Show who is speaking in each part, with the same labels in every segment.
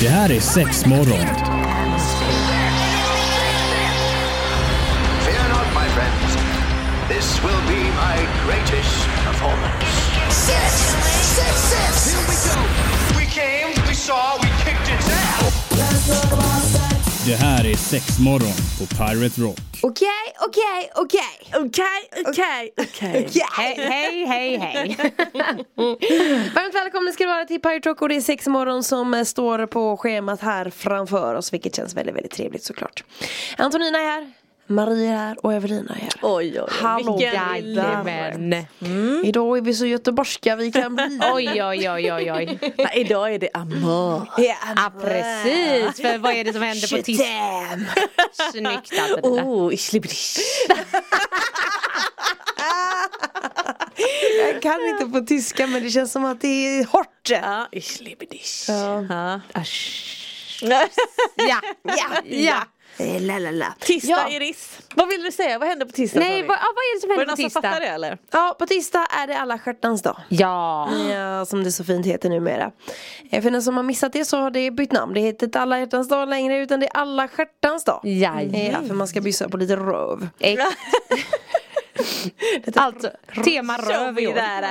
Speaker 1: Det här är sex morgon.
Speaker 2: Fear not, my friends. This will be my greatest performance.
Speaker 3: Six, six, six. Here we go.
Speaker 2: We came, we saw, we kicked its ass.
Speaker 1: Det här är sex morgon på Pirate Rock.
Speaker 4: Okej, okej, okej.
Speaker 5: Okej, okej, okej.
Speaker 4: Okej.
Speaker 5: Hej, hej, hej, hej. Varmt välkomna ska du vara till Pirate Rock och det är sex morgon som eh, står på schemat här framför oss vilket känns väldigt, väldigt trevligt såklart. Antonina är här, Maria är här och Evelina är här.
Speaker 4: Oj, oj, oj.
Speaker 5: Hallå
Speaker 4: vilken lilla-
Speaker 6: Jajamän. Mm.
Speaker 5: Idag är vi så göteborgska vi kan bli.
Speaker 6: Oj, oj, oj, oj, oj.
Speaker 4: Nej, idag är det amor.
Speaker 6: Ja, precis. För vad är det som händer på tisdag?
Speaker 4: Damn!
Speaker 6: Snyggt Antonina.
Speaker 4: Oh, ich liebe dich.
Speaker 5: Jag kan inte på tyska men det känns som att det är hårt.
Speaker 4: Ja, ich liebe dich.
Speaker 6: Ja.
Speaker 4: Ja,
Speaker 6: ja.
Speaker 5: Eh, La, la, la.
Speaker 4: Tisdag,
Speaker 6: Ja.
Speaker 4: Iris. Vad vill du säga? Vad hände på tisdag?
Speaker 6: Nej, vad, ja, vad är det som
Speaker 4: Var
Speaker 6: händer
Speaker 4: det
Speaker 6: på
Speaker 4: någon som fattade det
Speaker 6: tisdag?
Speaker 4: eller?
Speaker 5: Ja, på tisdag är det alla stjärtans dag.
Speaker 6: Ja.
Speaker 5: Ja, som det så fint heter numera. Eh, För den som har missat det så har det bytt namn. Det heter inte alla hjärtans dag längre utan det är alla stjärtans dag.
Speaker 6: Jajamän.
Speaker 5: Eh, Ja, för man ska byssa på lite röv.
Speaker 6: Ex- Alltså, tema
Speaker 4: Show
Speaker 6: röv
Speaker 4: me
Speaker 6: i år.
Speaker 4: that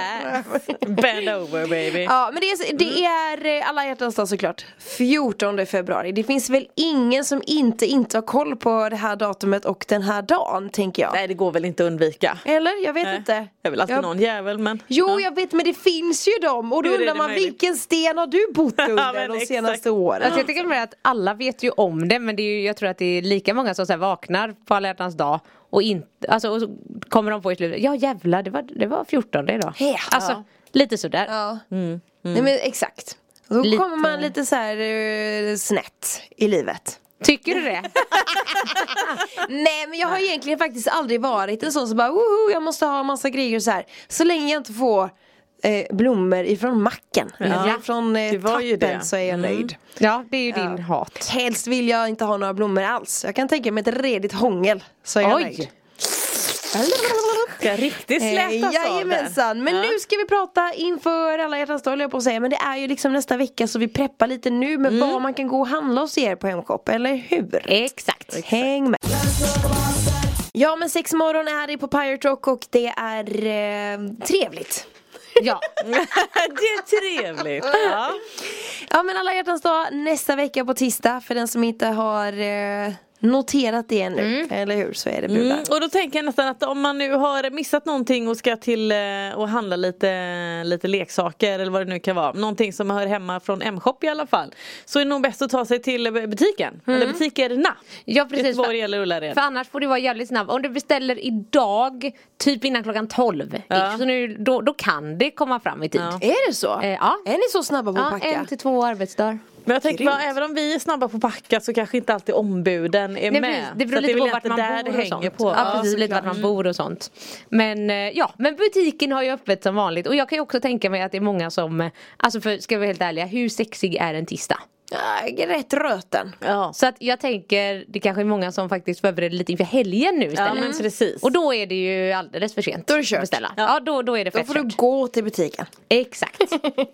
Speaker 4: ass. Bend over baby.
Speaker 5: Ja, men det är, det är eh, alla hjärtans dag såklart. 14 februari. Det finns väl ingen som inte, inte har koll på det här datumet och den här dagen, tänker jag.
Speaker 4: Nej, det går väl inte att undvika. Eh,
Speaker 5: Eller? Jag vet inte.
Speaker 4: Jag vill alltid
Speaker 5: Jag-
Speaker 4: någon jävel men.
Speaker 5: Jo, jag vet, men det finns ju dem. Och då
Speaker 4: Hur är
Speaker 5: undrar
Speaker 4: det
Speaker 5: man,
Speaker 4: möjligt?
Speaker 5: vilken sten har du bott
Speaker 4: Ja,
Speaker 5: under
Speaker 4: men
Speaker 5: de
Speaker 4: exakt.
Speaker 5: senaste åren?
Speaker 6: Alltså jag tycker bara att alla vet ju om det men det är ju, jag tror att det är lika många som så här vaknar på alla hjärtans dag och inte, alltså och så kommer de på i slutet, ja jävlar det var, det var 14 idag.
Speaker 5: Ja.
Speaker 6: Alltså lite sådär.
Speaker 5: Ja. Nej men exakt. Då
Speaker 6: Lite-
Speaker 5: kommer man lite så här eh, snett i livet.
Speaker 6: Tycker du det?
Speaker 5: Nej men jag har egentligen faktiskt aldrig varit en sån som bara woho, jag måste ha massa grejer så här. Så länge jag inte får eh, blommor ifrån macken. Eller från eh,
Speaker 4: Det var
Speaker 5: tappen
Speaker 4: ju det.
Speaker 5: så är jag nöjd.
Speaker 6: Ja det är ju din hat.
Speaker 5: Helst vill jag inte ha några blommor alls. Jag kan tänka mig ett redigt hångel så är jag
Speaker 6: Oj.
Speaker 5: nöjd.
Speaker 4: Ska riktigt
Speaker 5: Eh,
Speaker 4: slätas av det.
Speaker 5: Jajamensan, men
Speaker 4: Ja.
Speaker 5: nu ska vi prata inför alla hjärtans dag höll jag på att säga Men det är ju liksom nästa vecka så vi preppar lite nu med vad man kan gå och handla hos er på Hemshop, eller hur?
Speaker 6: Exakt.
Speaker 5: Häng med! Ja men sex morgon är det på Pirate Rock och det är eh, trevligt
Speaker 6: Ja.
Speaker 4: det är trevligt. Ja.
Speaker 5: Ja men alla hjärtans dag nästa vecka på tisdag för den som inte har eh, noterat det ännu Eller hur? Så är det brudar
Speaker 4: Mm, och då tänker jag nästan att om man nu har missat någonting och ska till eh, och handla lite, lite leksaker eller vad det nu kan vara. Någonting som hör hemma från M-shop i alla fall. Så är det nog bäst att ta sig till eh, butiken. Eller
Speaker 6: Mm.
Speaker 4: butikerna.
Speaker 6: Ja precis.
Speaker 4: Göteborg eller Ullared.
Speaker 6: För annars får du vara jävligt snabb. Om du beställer idag, typ innan klockan 12.
Speaker 4: Ja.
Speaker 6: Så nu, då, då kan det komma fram i tid.
Speaker 4: Ja.
Speaker 5: Är det så?
Speaker 6: Eh, ja.
Speaker 5: Är ni så snabba på att
Speaker 6: Ja,
Speaker 5: packa?
Speaker 6: en till två arbetsdagar.
Speaker 4: Men jag tänker bara,
Speaker 5: Grymt.
Speaker 4: även om vi är snabba på att packa så kanske inte alltid ombuden är med.
Speaker 6: Nej, precis. Det
Speaker 4: Så
Speaker 6: beror
Speaker 4: att
Speaker 6: lite
Speaker 4: är
Speaker 6: på
Speaker 4: väl
Speaker 6: vart
Speaker 4: inte
Speaker 6: man
Speaker 4: där
Speaker 6: bor
Speaker 4: det
Speaker 6: och
Speaker 4: hänger
Speaker 6: sånt.
Speaker 4: på.
Speaker 6: Ja, precis, lite
Speaker 4: såklart.
Speaker 6: vart man bor och sånt. Men eh, ja, men butiken har ju öppet som vanligt. Och jag kan ju också tänka mig att det är många som, eh, alltså för, ska vi vara helt ärliga, hur sexig är en tisdag?
Speaker 5: Ja, rätt röten
Speaker 4: Ja.
Speaker 6: Så att jag tänker, det kanske är många som faktiskt förbereder lite inför helgen nu
Speaker 4: ja
Speaker 6: istället.
Speaker 4: men precis.
Speaker 6: Mm. Och då är det ju alldeles för sent.
Speaker 5: Då är det kört.
Speaker 6: att Beställa. Ja, då, då är det
Speaker 5: Då
Speaker 6: fett
Speaker 5: får du
Speaker 6: kört.
Speaker 5: gå till butiken
Speaker 6: Exakt,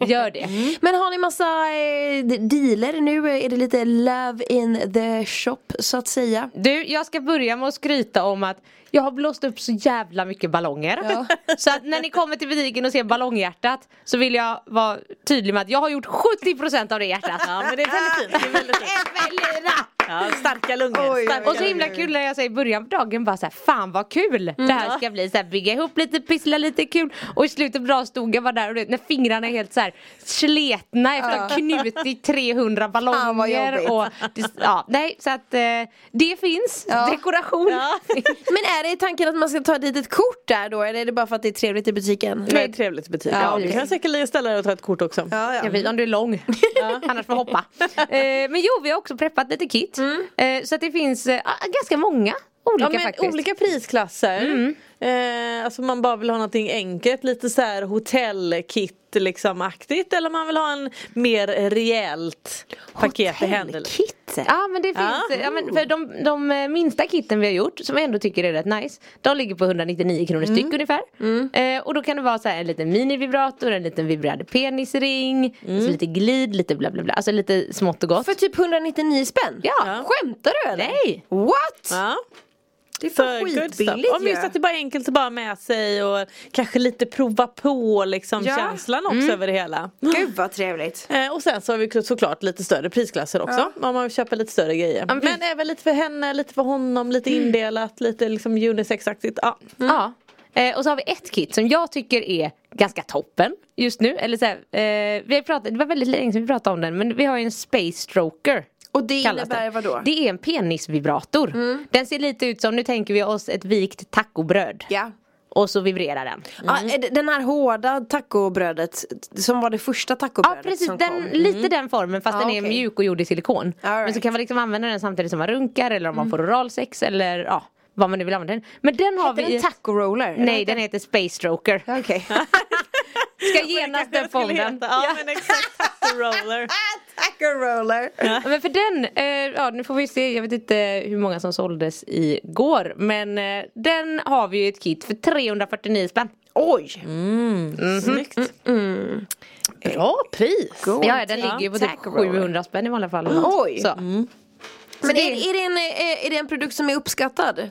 Speaker 6: gör det.
Speaker 5: Men har ni massa eh, d- dealer nu? Är det lite love in the shop så att säga?
Speaker 6: Du, jag ska börja med att skryta om att jag har blåst upp så jävla mycket ballonger. Så att när ni kommer till butiken och ser ballonghjärtat så vill jag vara tydlig med att jag har gjort 70% av det hjärtat.
Speaker 4: Ja men det är väldigt fint. Det är väldigt fint.
Speaker 6: Evelina!
Speaker 4: Ja, starka lungor.
Speaker 5: Oj,
Speaker 4: starka
Speaker 6: Och så himla kul när jag säger i början på dagen bara så här, fan vad kul
Speaker 5: Mm.
Speaker 6: det här ska bli så här, bygga ihop lite, pyssla lite kul och i slutet på dagen stod jag bara där och du vet, när fingrarna är helt så här sletna efter att ha knutit 300
Speaker 5: Fan, vad jobbigt.
Speaker 6: ballonger och det, ja, nej så att eh, det finns,
Speaker 5: Ja.
Speaker 6: dekoration finns.
Speaker 5: Men är det tanken att man ska ta dit ett kort där då? Eller är det bara för att det är trevligt i butiken?
Speaker 4: Det är ett trevligt butik.
Speaker 5: Ja,
Speaker 4: Ja, du
Speaker 5: okej.
Speaker 4: kan säkert ställa dig och ta ett kort också.
Speaker 5: Ja, ja.
Speaker 6: Jag vet om du är lång, annars får jag hoppa. Eh, men jo, vi har också preppat lite kit.
Speaker 5: Mm.
Speaker 6: Eh, så att det finns eh, ah, ganska många olika
Speaker 4: ja, men
Speaker 6: faktiskt.
Speaker 4: olika prisklasser. Eh, alltså man bara vill ha någonting enkelt, lite så här hotellkit liksom aktigt eller man vill ha en mer rejält paket i händerna.
Speaker 5: Hotellkit? kit.
Speaker 6: Ja men det finns,
Speaker 4: Ah.
Speaker 6: ja, men för de, de eh, minsta kitten vi har gjort som jag ändå tycker är rätt nice De ligger på 199 kronor
Speaker 5: Mm.
Speaker 6: styck ungefär eh, Och då kan det vara så här en liten mini-vibrator, en liten vibrerande penisring så Lite glid, lite bla bla bla, alltså lite smått och gott
Speaker 5: Mm. För typ 199 spänn?
Speaker 6: Ja.
Speaker 5: Skämtar du eller?
Speaker 6: Nej.
Speaker 5: What?
Speaker 4: Ja.
Speaker 5: Det är
Speaker 4: Så
Speaker 5: fan
Speaker 4: good stuff.
Speaker 5: skitbilligt
Speaker 4: Om typ, just
Speaker 5: ju.
Speaker 4: att det bara är enkelt att bara med sig och kanske lite prova på liksom
Speaker 5: Ja.
Speaker 4: känslan också över det hela.
Speaker 5: Gud vad trevligt.
Speaker 4: Eh, och sen så har vi också såklart lite större prisklasser också. Om man vill köpa lite större grejer.
Speaker 6: men
Speaker 4: Men, även lite för henne, lite för honom, lite indelat, lite liksom unisexaktigt. Ja.
Speaker 6: Ja. Eh, och så har vi ett kit som jag tycker är ganska toppen just nu. Eller så här, eh, vi har pratat, det var väldigt länge sedan vi pratade om den men vi har ju en space stroker.
Speaker 5: Och det
Speaker 6: kallas
Speaker 5: innebär
Speaker 6: den.
Speaker 5: vadå?
Speaker 6: Det är en penisvibrator. Den ser lite ut som, nu tänker vi oss ett vikt tacobröd.
Speaker 5: Ja.
Speaker 6: Och så vibrerar den.
Speaker 5: Ja, är det- den här hårda tacobrödet som var det första
Speaker 6: Ja
Speaker 5: tacobrödet
Speaker 6: precis,
Speaker 5: som
Speaker 6: den,
Speaker 5: kom.
Speaker 6: lite den formen fast
Speaker 5: Ja,
Speaker 6: den är
Speaker 5: okej.
Speaker 6: mjuk och gjord i silikon.
Speaker 5: All
Speaker 6: Men så
Speaker 5: right.
Speaker 6: kan man liksom använda den samtidigt som man runkar eller om man får oralsex eller ja, vad man nu vill använda den. Men den har
Speaker 5: Heter
Speaker 6: vi i-
Speaker 5: den taco roller?
Speaker 6: Nej den heter space stroker.
Speaker 5: Okej.
Speaker 6: Ska genast
Speaker 4: Kanske
Speaker 6: den
Speaker 4: den skulle
Speaker 6: fonden.
Speaker 4: heta. Ja, men exakt. Taco roller.
Speaker 5: taco roller.
Speaker 6: Ja, Men för den, eh, ja nu får vi se, jag vet inte hur många som såldes igår Men eh, den har vi ju ett kit för 349 spänn
Speaker 5: Oj.
Speaker 4: Snyggt. Eh, Bra pris.
Speaker 5: Go
Speaker 6: Mm, Ja den
Speaker 5: to
Speaker 6: ligger ju på typ
Speaker 5: taco roller.
Speaker 6: 700 spänn i vanliga fall
Speaker 5: Oj. Mm.
Speaker 6: Så.
Speaker 5: Men är, är, det en, eh, är det en produkt som är uppskattad?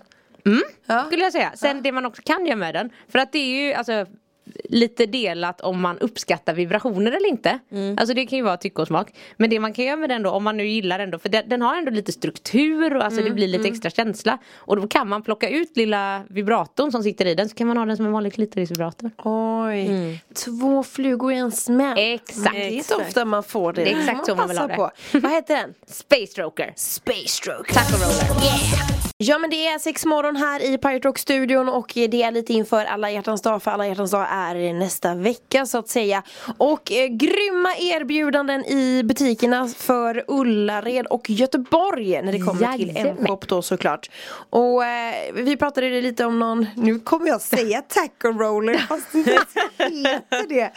Speaker 5: Ja.
Speaker 6: Skulle jag säga, sen det man också kan göra med den För att det är ju alltså Lite delat om man uppskattar vibrationer eller inte
Speaker 5: Mm.
Speaker 6: Alltså det kan ju vara tycke och smak Men det man kan göra med den då om man nu gillar den då För den, den har ändå lite struktur och
Speaker 5: Mm,
Speaker 6: alltså det blir lite extra känsla Och då kan man plocka ut lilla vibratorn som sitter i den Så kan man ha den som en vanlig klitorisvibrator
Speaker 5: Oj. Två flugor i en smäll.
Speaker 6: Mm. Exakt.
Speaker 5: Det är inte ofta man får det.
Speaker 6: Det är exakt så man vill ha
Speaker 5: passa
Speaker 6: det.
Speaker 5: På. Vad heter den?
Speaker 6: Space Stroker.
Speaker 5: Space stroke.
Speaker 6: Taco roller.
Speaker 5: Ja men det är sex morgon här i Pirate Rock-studion och det är lite inför alla hjärtans dag för alla hjärtans dag är nästa vecka så att säga. Och eh, grymma erbjudanden i butikerna för Ullared och Göteborg när det kommer till
Speaker 6: Jajamän.
Speaker 5: M-shop då såklart. Och eh, vi pratade ju lite om någon, nu kommer jag säga taco roller fast det inte ens heter det.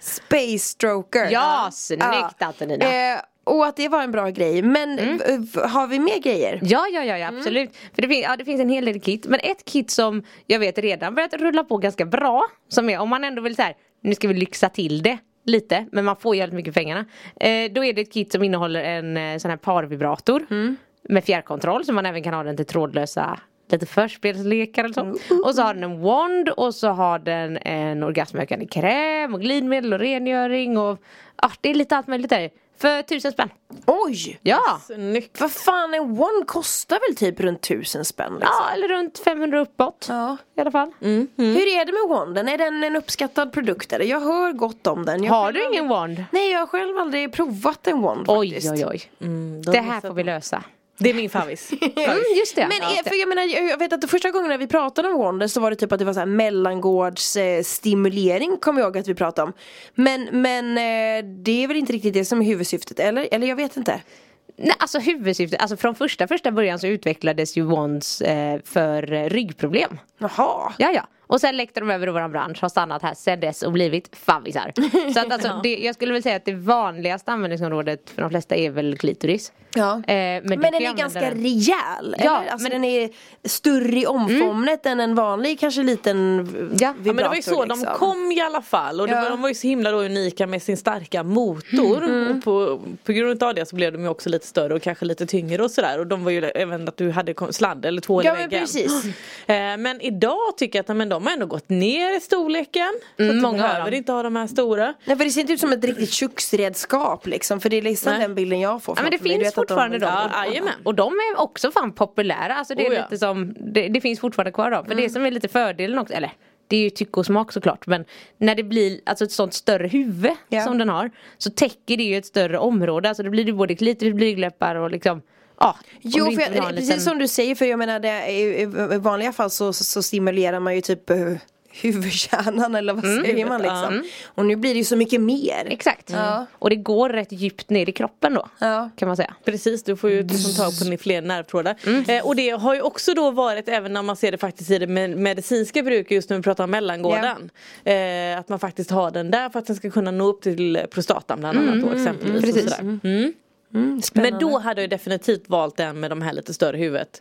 Speaker 5: Space stroker.
Speaker 6: Ja, snyggt Antonina. Mm.
Speaker 5: Eh, och att det var en bra grej men v- v- har vi mer grejer?
Speaker 6: Ja, ja, ja, ja absolut. För det, fin- ja, det finns en hel del kit. Men ett kit som jag vet redan börjat rulla på ganska bra. Som är om man ändå vill så här, nu ska vi lyxa till det lite. Men man får jävligt mycket för pengarna. Eh, då är det ett kit som innehåller en eh, sån här parvibrator. Med fjärrkontroll så man även kan ha den till trådlösa Lite förspelslekar eller så. Och så har den en wand och så har den en orgasmökande kräm och glidmedel och rengöring och ah, det är lite allt möjligt där. För tusen spänn.
Speaker 5: Oj!
Speaker 6: Ja!
Speaker 4: Snyggt.
Speaker 5: Vad fan, en one kostar väl typ runt tusen spänn? Liksom.
Speaker 6: Ja, eller runt 500 uppåt.
Speaker 5: Ja.
Speaker 6: I alla fall. Mm.
Speaker 5: Hur är det med wanden? Är den en uppskattad produkt eller? Jag hör gott om den. Jag
Speaker 6: Har
Speaker 5: själv
Speaker 6: du ingen
Speaker 5: aldrig-
Speaker 6: wand?
Speaker 5: Nej, jag har själv aldrig provat en wand
Speaker 6: Oj,
Speaker 5: faktiskt. Mm,
Speaker 6: oj, oj. det här får vi lösa.
Speaker 4: Det är min favvis.
Speaker 6: Mm, just det.
Speaker 5: Men
Speaker 6: Ja.
Speaker 5: är, för jag menar, jag jag vet att de första gången när vi pratade om Wonder så var det typ att det var så här mellangårdsstimulering eh, stimulering, kommer jag ihåg att vi pratade om. Men, men eh, det är väl inte riktigt det som är huvudsyftet eller? Eller jag vet inte.
Speaker 6: Nej, alltså huvudsyftet, alltså från första första början så utvecklades ju wands eh, för eh, ryggproblem.
Speaker 5: Jaha.
Speaker 6: Ja, ja. Och sen läckte de över i våran bransch, har stannat här sedan dess och blivit favvisar. Så att alltså, det, jag skulle väl säga att det vanligaste användningsområdet för de flesta är väl klitoris.
Speaker 5: Ja.
Speaker 6: Eh, men
Speaker 5: Men,
Speaker 6: du kan
Speaker 5: den Mm.
Speaker 6: ju
Speaker 5: är
Speaker 6: använda
Speaker 5: ganska
Speaker 6: den.
Speaker 5: rejäl.
Speaker 6: Ja,
Speaker 5: eller? Alltså,
Speaker 6: men-
Speaker 5: Den är större i omfånget än en vanlig kanske liten v-
Speaker 6: Ja.
Speaker 5: vibrator.
Speaker 6: Ja,
Speaker 4: Ja, men det var ju så
Speaker 5: liksom.
Speaker 4: de kom i alla fall och det
Speaker 5: Ja.
Speaker 4: var, de var ju så himla då unika med sin starka motor och på, på grund av det så blev de ju också lite större och kanske lite tyngre och sådär och de var ju även att du hade kon- sladd eller tvål i
Speaker 5: Ja, men
Speaker 4: väggen.
Speaker 5: precis.
Speaker 4: Eh, Men idag tycker jag att ja, men de har ändå gått ner i storleken så att du
Speaker 6: många av
Speaker 4: behöver
Speaker 6: dem.
Speaker 4: inte ha de här stora.
Speaker 5: Nej för det ser inte ut som ett riktigt köksredskap liksom för det är liksom
Speaker 4: Nej.
Speaker 5: den bilden jag får
Speaker 6: Ja men det
Speaker 5: framför mig. Du
Speaker 6: finns
Speaker 5: vet att
Speaker 6: fortfarande de,
Speaker 4: Ja, jajamän.
Speaker 6: Och de är också fan populära. Alltså det är
Speaker 4: Oh, ja.
Speaker 6: lite som, det, det finns fortfarande kvar dem. För
Speaker 5: Mm.
Speaker 6: det som är lite fördelen också, eller det är ju tycke och smak såklart men när det blir alltså ett sånt större huvud
Speaker 5: Ja.
Speaker 6: som den har så täcker det ju ett större område. Alltså det blir ju både klitoris, blygdläppar och liksom ja. om
Speaker 5: Jo,
Speaker 6: du
Speaker 5: för
Speaker 6: inte vill
Speaker 5: jag,
Speaker 6: ha en
Speaker 5: precis
Speaker 6: liten-
Speaker 5: som du säger, för jag menar det, är- i, i, i vanliga fall så, så, så stimulerar man ju typ eh, huvudkärnan eller vad säger man liksom. Och nu blir det ju så mycket mer.
Speaker 6: Exakt.
Speaker 5: Ja.
Speaker 6: Och det går rätt djupt ner i kroppen då.
Speaker 5: Ja.
Speaker 6: Kan man säga.
Speaker 4: Precis, du får ju liksom tag på ni- fler nervtrådar. Eh, och det har ju också då varit, även när man ser det faktiskt i det med- medicinska bruket just när vi pratar om mellangården. Eh, att man faktiskt har den där för att den ska kunna nå upp till prostatan bland annat då exempelvis. Och sådär. Mm. Men då hade jag definitivt valt den med de här lite större huvudet.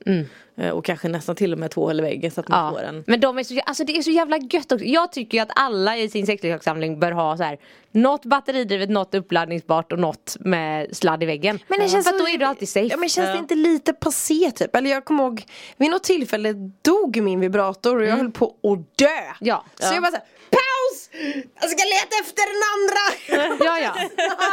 Speaker 4: Eh, Och kanske nästan till och med två hål i väggen så att man får en.
Speaker 6: Men de är så, alltså det är så jävla gött också. Jag tycker ju att alla i sin sexleksakssamling bör ha så här Något batteridrivet, något uppladdningsbart och något med sladd i väggen.
Speaker 5: Men det känns
Speaker 6: För att
Speaker 5: så-
Speaker 6: då är du alltid safe.
Speaker 5: Ja men känns det inte lite passé typ? Eller jag kommer ihåg vid något tillfälle dog min vibrator och jag höll på att dö.
Speaker 6: Mm. Ja.
Speaker 5: Så jag bara såhär, paus! Jag ska leta efter den andra!
Speaker 6: Ja, ja.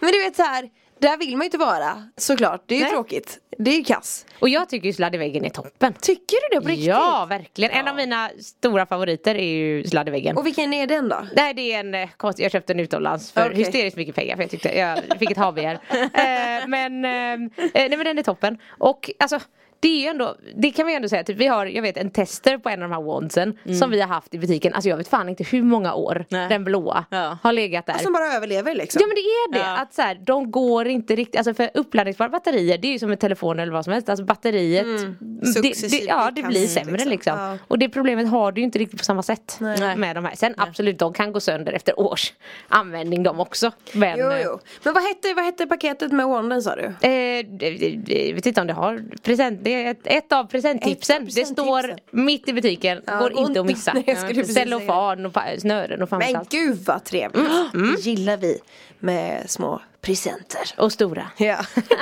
Speaker 5: men du vet så här, där vill man ju inte vara såklart. Det är ju
Speaker 6: Nej.
Speaker 5: tråkigt. Det är ju kass.
Speaker 6: Och jag tycker ju sladd i väggen är toppen.
Speaker 5: Tycker du det på riktigt?
Speaker 6: Ja, verkligen. En av mina stora favoriter är ju sladd i väggen.
Speaker 5: Och vilken är den då?
Speaker 6: Nej det är en eh, konstig, jag köpte den utomlands för
Speaker 5: Okej.
Speaker 6: hysteriskt mycket pengar för jag tyckte jag fick ett havbegär. eh, men, eh, nej men den är toppen. Och alltså det är ju ändå, det kan vi ändå säga, typ, vi har jag vet en tester på en av de här wandsen som vi har haft i butiken, alltså jag vet fan inte hur många år
Speaker 4: Mm. Nej.
Speaker 6: den blåa
Speaker 4: Ja.
Speaker 6: har legat där.
Speaker 5: Som bara överlever liksom.
Speaker 6: Ja men det är det,
Speaker 4: Ja.
Speaker 6: att så här, de går inte riktigt, alltså för uppladdningsbara batterier det är ju som en telefon eller vad som helst, alltså batteriet det, det,
Speaker 5: Mm. Successivt
Speaker 6: Ja det
Speaker 5: kan-
Speaker 6: blir sämre liksom,
Speaker 5: liksom. Ja.
Speaker 6: och det problemet har du ju inte riktigt på samma sätt
Speaker 5: Nej.
Speaker 6: med de här, sen absolut de kan gå sönder efter års användning de också men
Speaker 5: Jo, jo. Men vad hette, vad hette paketet med wanden sa du?
Speaker 6: Eh, eh, jag vet inte om det har present, det är ett, ett av
Speaker 5: Ett
Speaker 6: presenttipsen,
Speaker 5: av
Speaker 6: det står
Speaker 5: presenttipsen.
Speaker 6: mitt i butiken,
Speaker 5: Ja,
Speaker 6: går
Speaker 5: och-
Speaker 6: inte att missa.
Speaker 5: Nej, jag skulle precis säga det.
Speaker 6: Cellofan och pa- snören och fan vet
Speaker 5: Men
Speaker 6: allt.
Speaker 5: gud vad trevligt!
Speaker 6: Mm.
Speaker 5: Det gillar vi med små presenter.
Speaker 6: Och stora.
Speaker 5: Ja.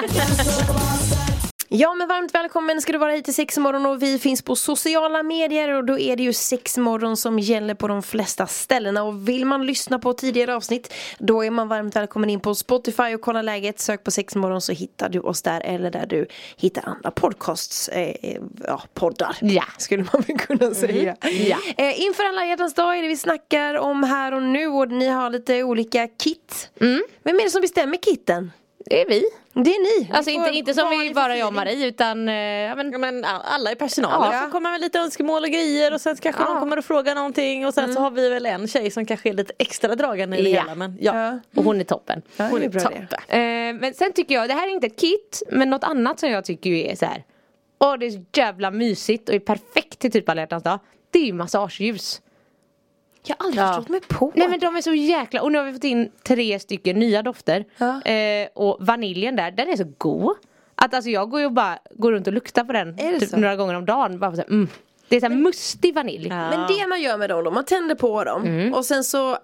Speaker 5: Ja men varmt välkommen ska du vara hit till Sexmorgon och vi finns på sociala medier och då är det ju Sexmorgon som gäller på de flesta ställena och vill man lyssna på tidigare avsnitt då är man varmt välkommen in på Spotify och kolla läget sök på Sexmorgon så hittar du oss där eller där du hittar andra podcasts eh, ja, poddar
Speaker 6: Ja.
Speaker 5: skulle man väl kunna säga.
Speaker 6: Ja.
Speaker 5: Eh, inför alla hjärtans dag är det vi snackar om här och nu och ni har lite olika kit. Vem är det som bestämmer kitten?
Speaker 6: Det är vi.
Speaker 5: Det är ni.
Speaker 6: Alltså
Speaker 5: Vi
Speaker 6: inte,
Speaker 5: får
Speaker 6: inte som vi
Speaker 5: vanlig
Speaker 6: bara jag och
Speaker 5: förfilning.
Speaker 6: Marie utan eh, ja, men,
Speaker 4: Ja, men all- alla i personalen
Speaker 5: Ja.
Speaker 4: får komma med lite önskemål och grejer och sen kanske någon kommer och frågar någonting och sen så har vi väl en tjej som kanske är lite extra dragande i det
Speaker 6: Ja.
Speaker 4: hela men Mm. ja.
Speaker 5: Ja.
Speaker 6: och hon är toppen.
Speaker 5: Ja,
Speaker 4: Hon
Speaker 5: det
Speaker 4: är
Speaker 5: är bra
Speaker 4: toppen.
Speaker 5: det.
Speaker 6: Eh, men sen tycker jag, det här är inte ett kit men något annat som jag tycker ju är så här. Åh det är så jävla mysigt och är perfekt till typ alla hjärtans dag. Det är ju massageljus.
Speaker 5: Jag har aldrig
Speaker 6: Ja.
Speaker 5: förstått mig på.
Speaker 6: Nej men de är så jäkla, och nu har vi fått in tre stycken nya dofter.
Speaker 5: Ja.
Speaker 6: Eh, och vaniljen där, den är så god. Att alltså jag går ju och bara går runt och luktar på den
Speaker 5: Är det
Speaker 6: typ
Speaker 5: så?
Speaker 6: några gånger om dagen. Bara för så här, mm. Det är så här mustig vanilj.
Speaker 5: Men det man gör med dem då, man tänder på dem och sen så eh,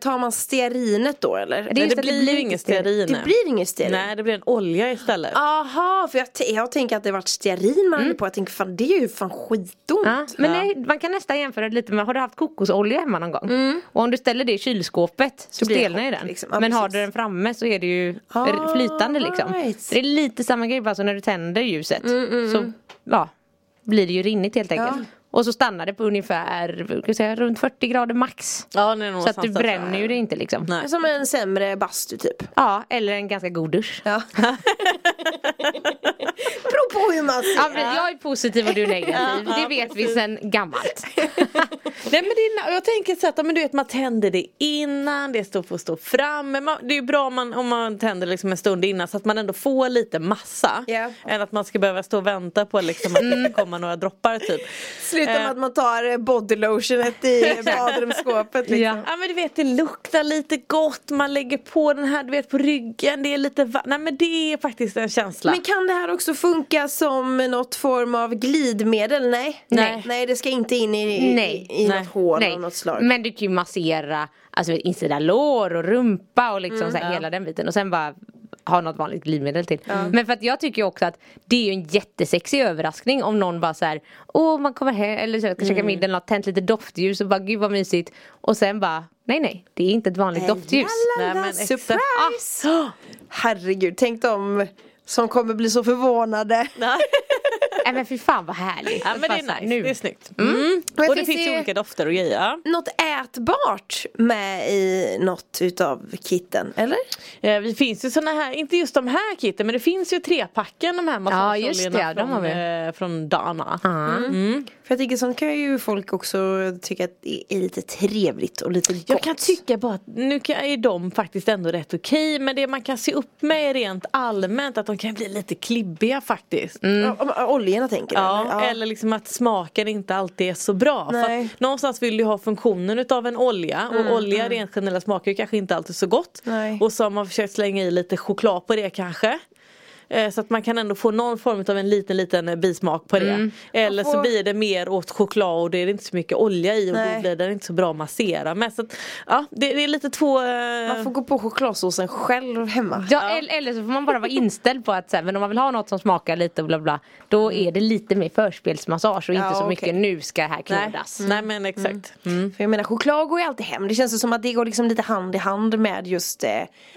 Speaker 5: tar man stearinet då eller?
Speaker 6: Det är
Speaker 4: Men
Speaker 6: just
Speaker 4: det
Speaker 6: att det
Speaker 4: blir
Speaker 6: blir
Speaker 4: ju
Speaker 6: inte
Speaker 4: ingen
Speaker 5: det
Speaker 4: stearin.
Speaker 5: blir ingen stearin?
Speaker 4: Nej det Ah. blir en olja istället.
Speaker 5: Aha, för jag, t- jag tänker att det varit stearin man hade på. Jag tänker fan det är ju fan skitont.
Speaker 6: Ja, men nej, man kan nästan jämföra det lite med, har du haft kokosolja hemma någon gång? Och om du ställer det i kylskåpet så
Speaker 5: Mm. blir det
Speaker 6: stelnar ju
Speaker 5: hot,
Speaker 6: den.
Speaker 5: liksom. Ja,
Speaker 6: men har
Speaker 5: precis.
Speaker 6: du den framme så är det ju
Speaker 5: Ah,
Speaker 6: r- flytande liksom.
Speaker 5: right. Mm,
Speaker 6: Det är lite samma grej bara som när du tänder ljuset. så ja, blir det ju rinnigt helt enkelt. Och så stannar det på ungefär ska jag säga, runt 40 grader max.
Speaker 4: Ja, det är nog
Speaker 6: Så att du
Speaker 4: sant, alltså.
Speaker 6: bränner ju det inte liksom.
Speaker 4: Nej.
Speaker 5: Som en sämre bastu typ.
Speaker 6: Ja, eller en ganska god dusch.
Speaker 5: Ja. Beror på hur man ser.
Speaker 6: Ja, men jag är positiv och du är negativ. det vet vi sedan gammalt.
Speaker 4: Nej, men det är, jag tänker så att ja, men du vet, man tänder det innan, det står får stå framme. Man, det är ju bra om man, om man tänder liksom en stund innan så att man ändå får lite massa.
Speaker 5: Ja.
Speaker 4: Än att man ska behöva stå och vänta på liksom, att det ska komma några droppar typ.
Speaker 5: Sluta med
Speaker 4: Eh.
Speaker 5: att man tar eh, bodylotionet i badrumsskåpet liksom.
Speaker 6: Ja.
Speaker 4: Ja men du vet det luktar lite gott, man lägger på den här du vet på ryggen, det är lite va- Nej men det är faktiskt en känsla.
Speaker 5: Men kan det här också funka som något form av glidmedel? Nej.
Speaker 6: Nej.
Speaker 5: Nej det ska inte in i, i,
Speaker 6: Nej.
Speaker 5: i
Speaker 4: Nej.
Speaker 5: något hål av något slag.
Speaker 6: Men du kan ju massera alltså, insida lår och rumpa och
Speaker 5: Mm.
Speaker 6: liksom så här, hela den biten och sen bara ha något vanligt glidmedel till. Men för att jag tycker ju också att det är ju en jättesexig överraskning om någon bara så här Åh man kommer hem eller så, ska käka
Speaker 5: Mm.
Speaker 6: middag eller något, tänt lite doftljus och bara gud vad mysigt och sen bara nej nej det är inte ett vanligt
Speaker 5: Eh,
Speaker 6: doftljus.
Speaker 5: Nej,
Speaker 4: Nej, men ah.
Speaker 5: men
Speaker 4: exakt.
Speaker 5: surprise! Herregud, tänk dem som kommer bli så förvånade.
Speaker 6: Ah, Nej men fy fan vad härligt.
Speaker 4: Ja,
Speaker 6: Att
Speaker 4: men det
Speaker 6: bara
Speaker 4: är
Speaker 6: så här,
Speaker 4: nice, det är snyggt.
Speaker 5: Men
Speaker 4: Mm. Och det finns ju
Speaker 5: det
Speaker 4: olika dofter och grejer. ja.
Speaker 5: något ätbart med i något utav kitten, eller?
Speaker 4: Eh, vi finns ju såna här, inte just de här kitten men det finns ju trepacken de här
Speaker 6: just det,
Speaker 4: massageoljorna
Speaker 6: ja, de har
Speaker 4: från, eh, från Dana.
Speaker 6: Ja.
Speaker 5: För jag tänker sånt kan ju folk också tycka att det är lite trevligt och lite gott.
Speaker 4: Jag kan tycka bara att nu kan- är de faktiskt ändå rätt okej men det man kan se upp med är rent allmänt att de kan bli lite klibbiga faktiskt.
Speaker 5: Ja, Mm. om- om- Olja färgerna tänker du?
Speaker 4: Ja, eller liksom att smaken inte alltid är så bra. För
Speaker 5: Nej. Mm,
Speaker 4: att någonstans vill du ha funktionen utav en olja och olja rent generellt smakar ju kanske inte alltid så gott.
Speaker 5: Nej.
Speaker 4: Och så har man försökt slänga i lite choklad på det kanske. Eh, Så att man kan ändå få någon form av en liten liten eh, bismak på det. Eller så
Speaker 5: Mm. får-
Speaker 4: blir det mer åt choklad och det är inte så mycket olja i och då
Speaker 5: Nej.
Speaker 4: blir den inte så bra att massera med. Så att, ja, det, det är lite två... eh,
Speaker 5: Man får gå på chokladsåsen själv hemma.
Speaker 6: Ja, el- Eller så får man bara vara inställd på att så här, men om man vill ha något som smakar lite och bla bla Då är det lite mer förspelsmassage och inte
Speaker 5: Mm. Ja,
Speaker 6: så
Speaker 5: okej.
Speaker 6: mycket nu ska det här
Speaker 4: Nej,
Speaker 6: knådas.
Speaker 4: Mm. nej men
Speaker 5: Mm.
Speaker 4: exakt.
Speaker 5: För jag menar choklad går ju alltid hem. Det känns ju som att det går liksom lite hand i hand med just eh,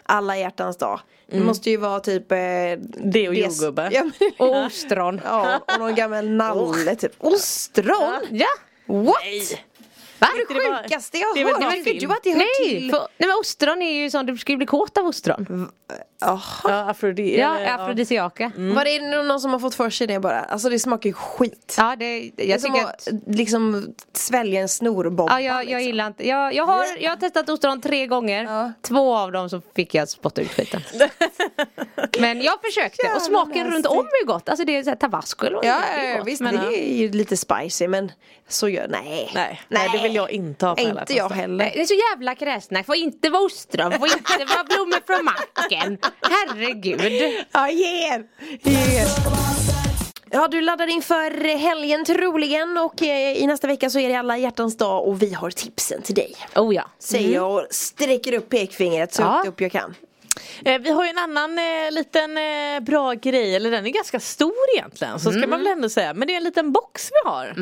Speaker 5: alla hjärtans dag. Det måste ju vara typ eh,
Speaker 4: Det och
Speaker 5: det-
Speaker 4: jordgubbe.
Speaker 5: Ja, men-
Speaker 6: Och ostron.
Speaker 5: ja, och någon gammal nalle typ. Ostron?
Speaker 6: Ja!
Speaker 5: What?
Speaker 6: Va?
Speaker 5: Det är
Speaker 4: det
Speaker 5: det
Speaker 4: bara-
Speaker 5: sjukaste jag
Speaker 4: det är
Speaker 5: har
Speaker 4: väl
Speaker 5: hört.
Speaker 4: bara
Speaker 5: Jag trodde ju
Speaker 4: film.
Speaker 5: att det hör
Speaker 6: Nej,
Speaker 5: till.
Speaker 6: för, nej men ostron är ju sånt, du ska ju bli kåt av ostron.
Speaker 5: Jaha.
Speaker 4: Ja, afrodi-
Speaker 6: Ja,
Speaker 4: eller, ja.
Speaker 6: afrodisiaka.
Speaker 5: Ah. Var det någon någon som har fått för sig det bara? Alltså det smakar ju skit.
Speaker 6: Ja, det, jag
Speaker 5: det är
Speaker 6: tycker
Speaker 5: som
Speaker 6: att- Ah,
Speaker 5: att liksom svälja en snorbomb.
Speaker 6: Ja, jag, jag gillar inte. Jag, jag, har, jag har testat ostron tre gånger.
Speaker 5: Ja.
Speaker 6: Två av dem så fick jag spotta ut skiten. Men jag försökte och
Speaker 5: Jävla
Speaker 6: smaken
Speaker 5: nasty.
Speaker 6: runt om är gott. Alltså det är så här tabasco eller vad
Speaker 5: Ja,
Speaker 6: det är. Det är
Speaker 5: ja,
Speaker 6: gott,
Speaker 5: visst
Speaker 6: men, ja.
Speaker 5: det är ju lite spicy men så gör, nej.
Speaker 4: Nej, nej, det vill jag inte ha på alla
Speaker 5: Inte jag
Speaker 4: fasta.
Speaker 5: heller.
Speaker 6: Nej, Eh, Det är så jävla kräsna. Får inte vara ostron, får inte vara blommor från macken. Herregud.
Speaker 5: Ja, yeah. Ja, du laddar inför helgen troligen och eh, i nästa vecka så är det alla hjärtans dag och vi har tipsen till dig.
Speaker 6: Oh ja.
Speaker 5: Säger jag och sträcker upp pekfingret så
Speaker 6: Ja.
Speaker 5: högt upp jag kan.
Speaker 4: Eh, Vi har ju en annan eh, liten eh, bra grej, eller den är ganska stor egentligen så ska man väl ändå säga. Men det är en liten box vi har.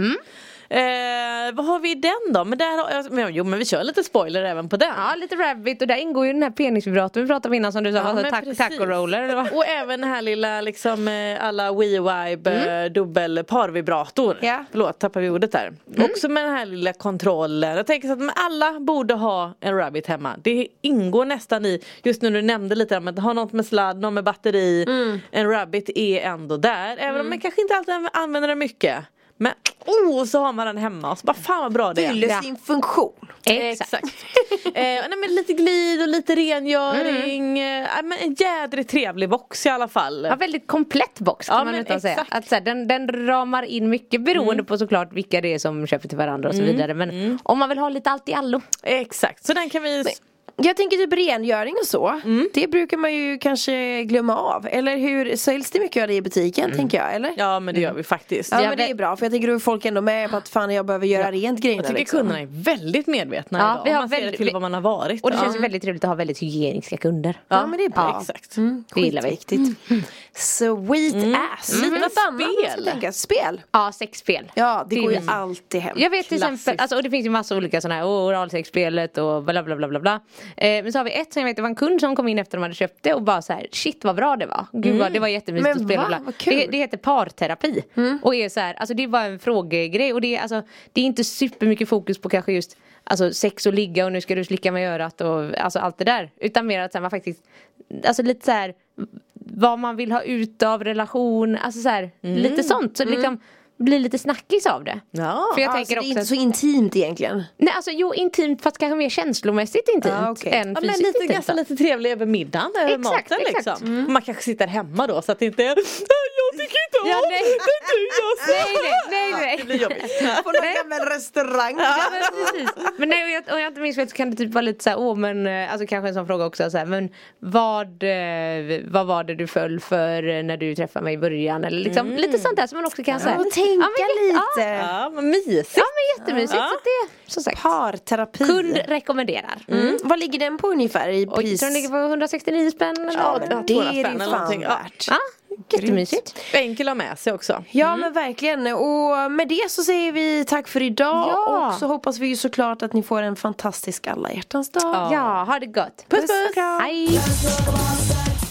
Speaker 4: Eh, vad har vi i den då? Men där har, jag- men, jo men vi kör lite spoiler även på den.
Speaker 6: Ja, lite rabbit och där ingår ju den här penisvibratorn vi pratade om innan som du sa var så
Speaker 4: men
Speaker 6: tack,
Speaker 4: precis.
Speaker 6: taco-roller. eller vad?
Speaker 4: Och även den här lilla liksom eh, alla WeVibe mm. dubbel parvibrator.
Speaker 5: Ja.
Speaker 4: Förlåt, tappar vi ordet där. Också med den här lilla kontrollen. Jag tänker så att men alla borde ha en rabbit hemma. Det ingår nästan i, just nu när du nämnde lite om att ha något med sladd, något med batteri. En rabbit är ändå där. Även om man kanske inte alltid använder den mycket. Men oh, så har man den hemma och så bara fan vad bra det är.
Speaker 5: Fyller sin funktion.
Speaker 6: Exakt.
Speaker 4: eh, nej, men lite glid och lite rengöring. Eh, men en jädrigt trevlig box i alla fall.
Speaker 6: Ja, väldigt komplett box kan
Speaker 4: Ja,
Speaker 6: man
Speaker 4: men
Speaker 6: nästan säga.
Speaker 4: exakt.
Speaker 6: Att, så här, den, den ramar in mycket beroende
Speaker 5: Mm.
Speaker 6: på såklart vilka det är som köper till varandra och så vidare. Men om man vill ha lite allt i allo.
Speaker 4: Exakt, så den kan vi...
Speaker 5: Jag tänker typ rengöring och så. Det brukar man ju kanske glömma av. Eller hur, säljs det mycket av det i butiken tänker jag? Eller?
Speaker 4: Ja men det gör vi faktiskt.
Speaker 5: Mm. Ja,
Speaker 4: Jag
Speaker 5: men det är bra för jag tänker att folk är ändå med på att fan jag behöver göra rent grejerna
Speaker 4: tycker
Speaker 5: liksom.
Speaker 4: kunderna är väldigt medvetna
Speaker 6: Ja,
Speaker 4: idag.
Speaker 6: vi har
Speaker 4: man ser
Speaker 6: väldigt-
Speaker 4: det till vad man har varit.
Speaker 6: Och det
Speaker 4: Ja.
Speaker 6: känns ju väldigt trevligt att ha väldigt hygieniska kunder.
Speaker 5: Ja, men det är bra.
Speaker 4: Exakt.
Speaker 6: Det gillar vi. Mm.
Speaker 5: Viktigt. Mm, Sweet ass. Lite
Speaker 4: Mm.
Speaker 5: något annat man ska
Speaker 4: Spel.
Speaker 5: tänka. Spel.
Speaker 6: Ja, sexspel.
Speaker 5: Ja, det
Speaker 6: är
Speaker 5: går ju
Speaker 6: min-
Speaker 5: alltid hem.
Speaker 6: Jag vet till exempel,
Speaker 4: Klassiskt.
Speaker 6: alltså, och det finns ju massa olika sådana här, oh, oralsexspelet och bla bla bla bla bla. Eh, men så har vi ett som jag vet, det var en kund som kom in efter de hade köpt det och bara så här, shit vad bra det var. Gud vad, det var jättemysigt
Speaker 5: Mm. Men
Speaker 6: att spela.
Speaker 5: va?
Speaker 6: bla, bla.
Speaker 5: Vad kul. Mm.
Speaker 6: Det, det heter parterapi. Och är så här, alltså det är bara en frågegrej och det är, alltså, det är inte supermycket fokus på kanske just Alltså sex och ligga och nu ska du slicka mig i örat och alltså allt det där. Utan mer att så här, man faktiskt, alltså lite så här vad man vill ha ut av relation, alltså så här,
Speaker 5: Mm.
Speaker 6: lite sånt. Så det liksom blir lite snackis av det.
Speaker 4: Ja,
Speaker 6: För jag
Speaker 5: alltså, det
Speaker 6: tänker
Speaker 5: är
Speaker 6: också
Speaker 5: inte
Speaker 6: att-
Speaker 5: så intimt egentligen.
Speaker 6: Nej alltså jo intimt fast kanske mer känslomässigt intimt
Speaker 5: Ja, Ah, okej.
Speaker 6: än
Speaker 4: Ja,
Speaker 6: fysiskt
Speaker 4: men lite,
Speaker 6: intimt.
Speaker 4: ganska lite trevlig över middagen, över
Speaker 6: Exakt,
Speaker 4: maten
Speaker 6: exakt.
Speaker 4: liksom. Man kanske sitter hemma då så att det inte är Jag tycker inte om
Speaker 6: Ja,
Speaker 4: det,
Speaker 6: nej.
Speaker 4: det är du jag
Speaker 6: Nej nej nej.
Speaker 4: Det blir jobbigt.
Speaker 5: På någon gammal restaurang.
Speaker 6: Ja, men precis. Men nej, och jag, om jag inte minns fel så kan det typ vara lite såhär, åh men, eh, alltså kanske en sån fråga också såhär, men vad, eh, vad var det du föll för eh, när du träffade mig i början eller liksom lite sånt där som man också kan säga.
Speaker 5: Mm. Och tänka lite.
Speaker 6: Ja,
Speaker 4: Ja, vad mysigt.
Speaker 6: ja men jättemysigt
Speaker 4: Ja.
Speaker 6: så det, som sagt.
Speaker 5: Parterapi.
Speaker 6: Kund rekommenderar.
Speaker 5: Mm. Vad ligger den på ungefär i
Speaker 6: Och jag
Speaker 5: pris?
Speaker 6: tror den ligger på 169 spänn eller
Speaker 4: Ja,
Speaker 6: något.
Speaker 5: det
Speaker 4: två
Speaker 5: är
Speaker 4: spänn
Speaker 5: det
Speaker 4: eller
Speaker 5: fan
Speaker 4: någonting. Ja.
Speaker 5: värt.
Speaker 6: Ja, jättemysigt.
Speaker 4: Enkel att ha med sig också.
Speaker 5: Ja
Speaker 6: Mm.
Speaker 5: men verkligen och med det så säger vi tack för idag
Speaker 6: Ja.
Speaker 5: och så hoppas vi ju såklart att ni får en fantastisk alla hjärtans dag.
Speaker 6: Ja, ha det gott.
Speaker 5: Puss, puss.
Speaker 6: Hej.
Speaker 3: Let's talk about sex.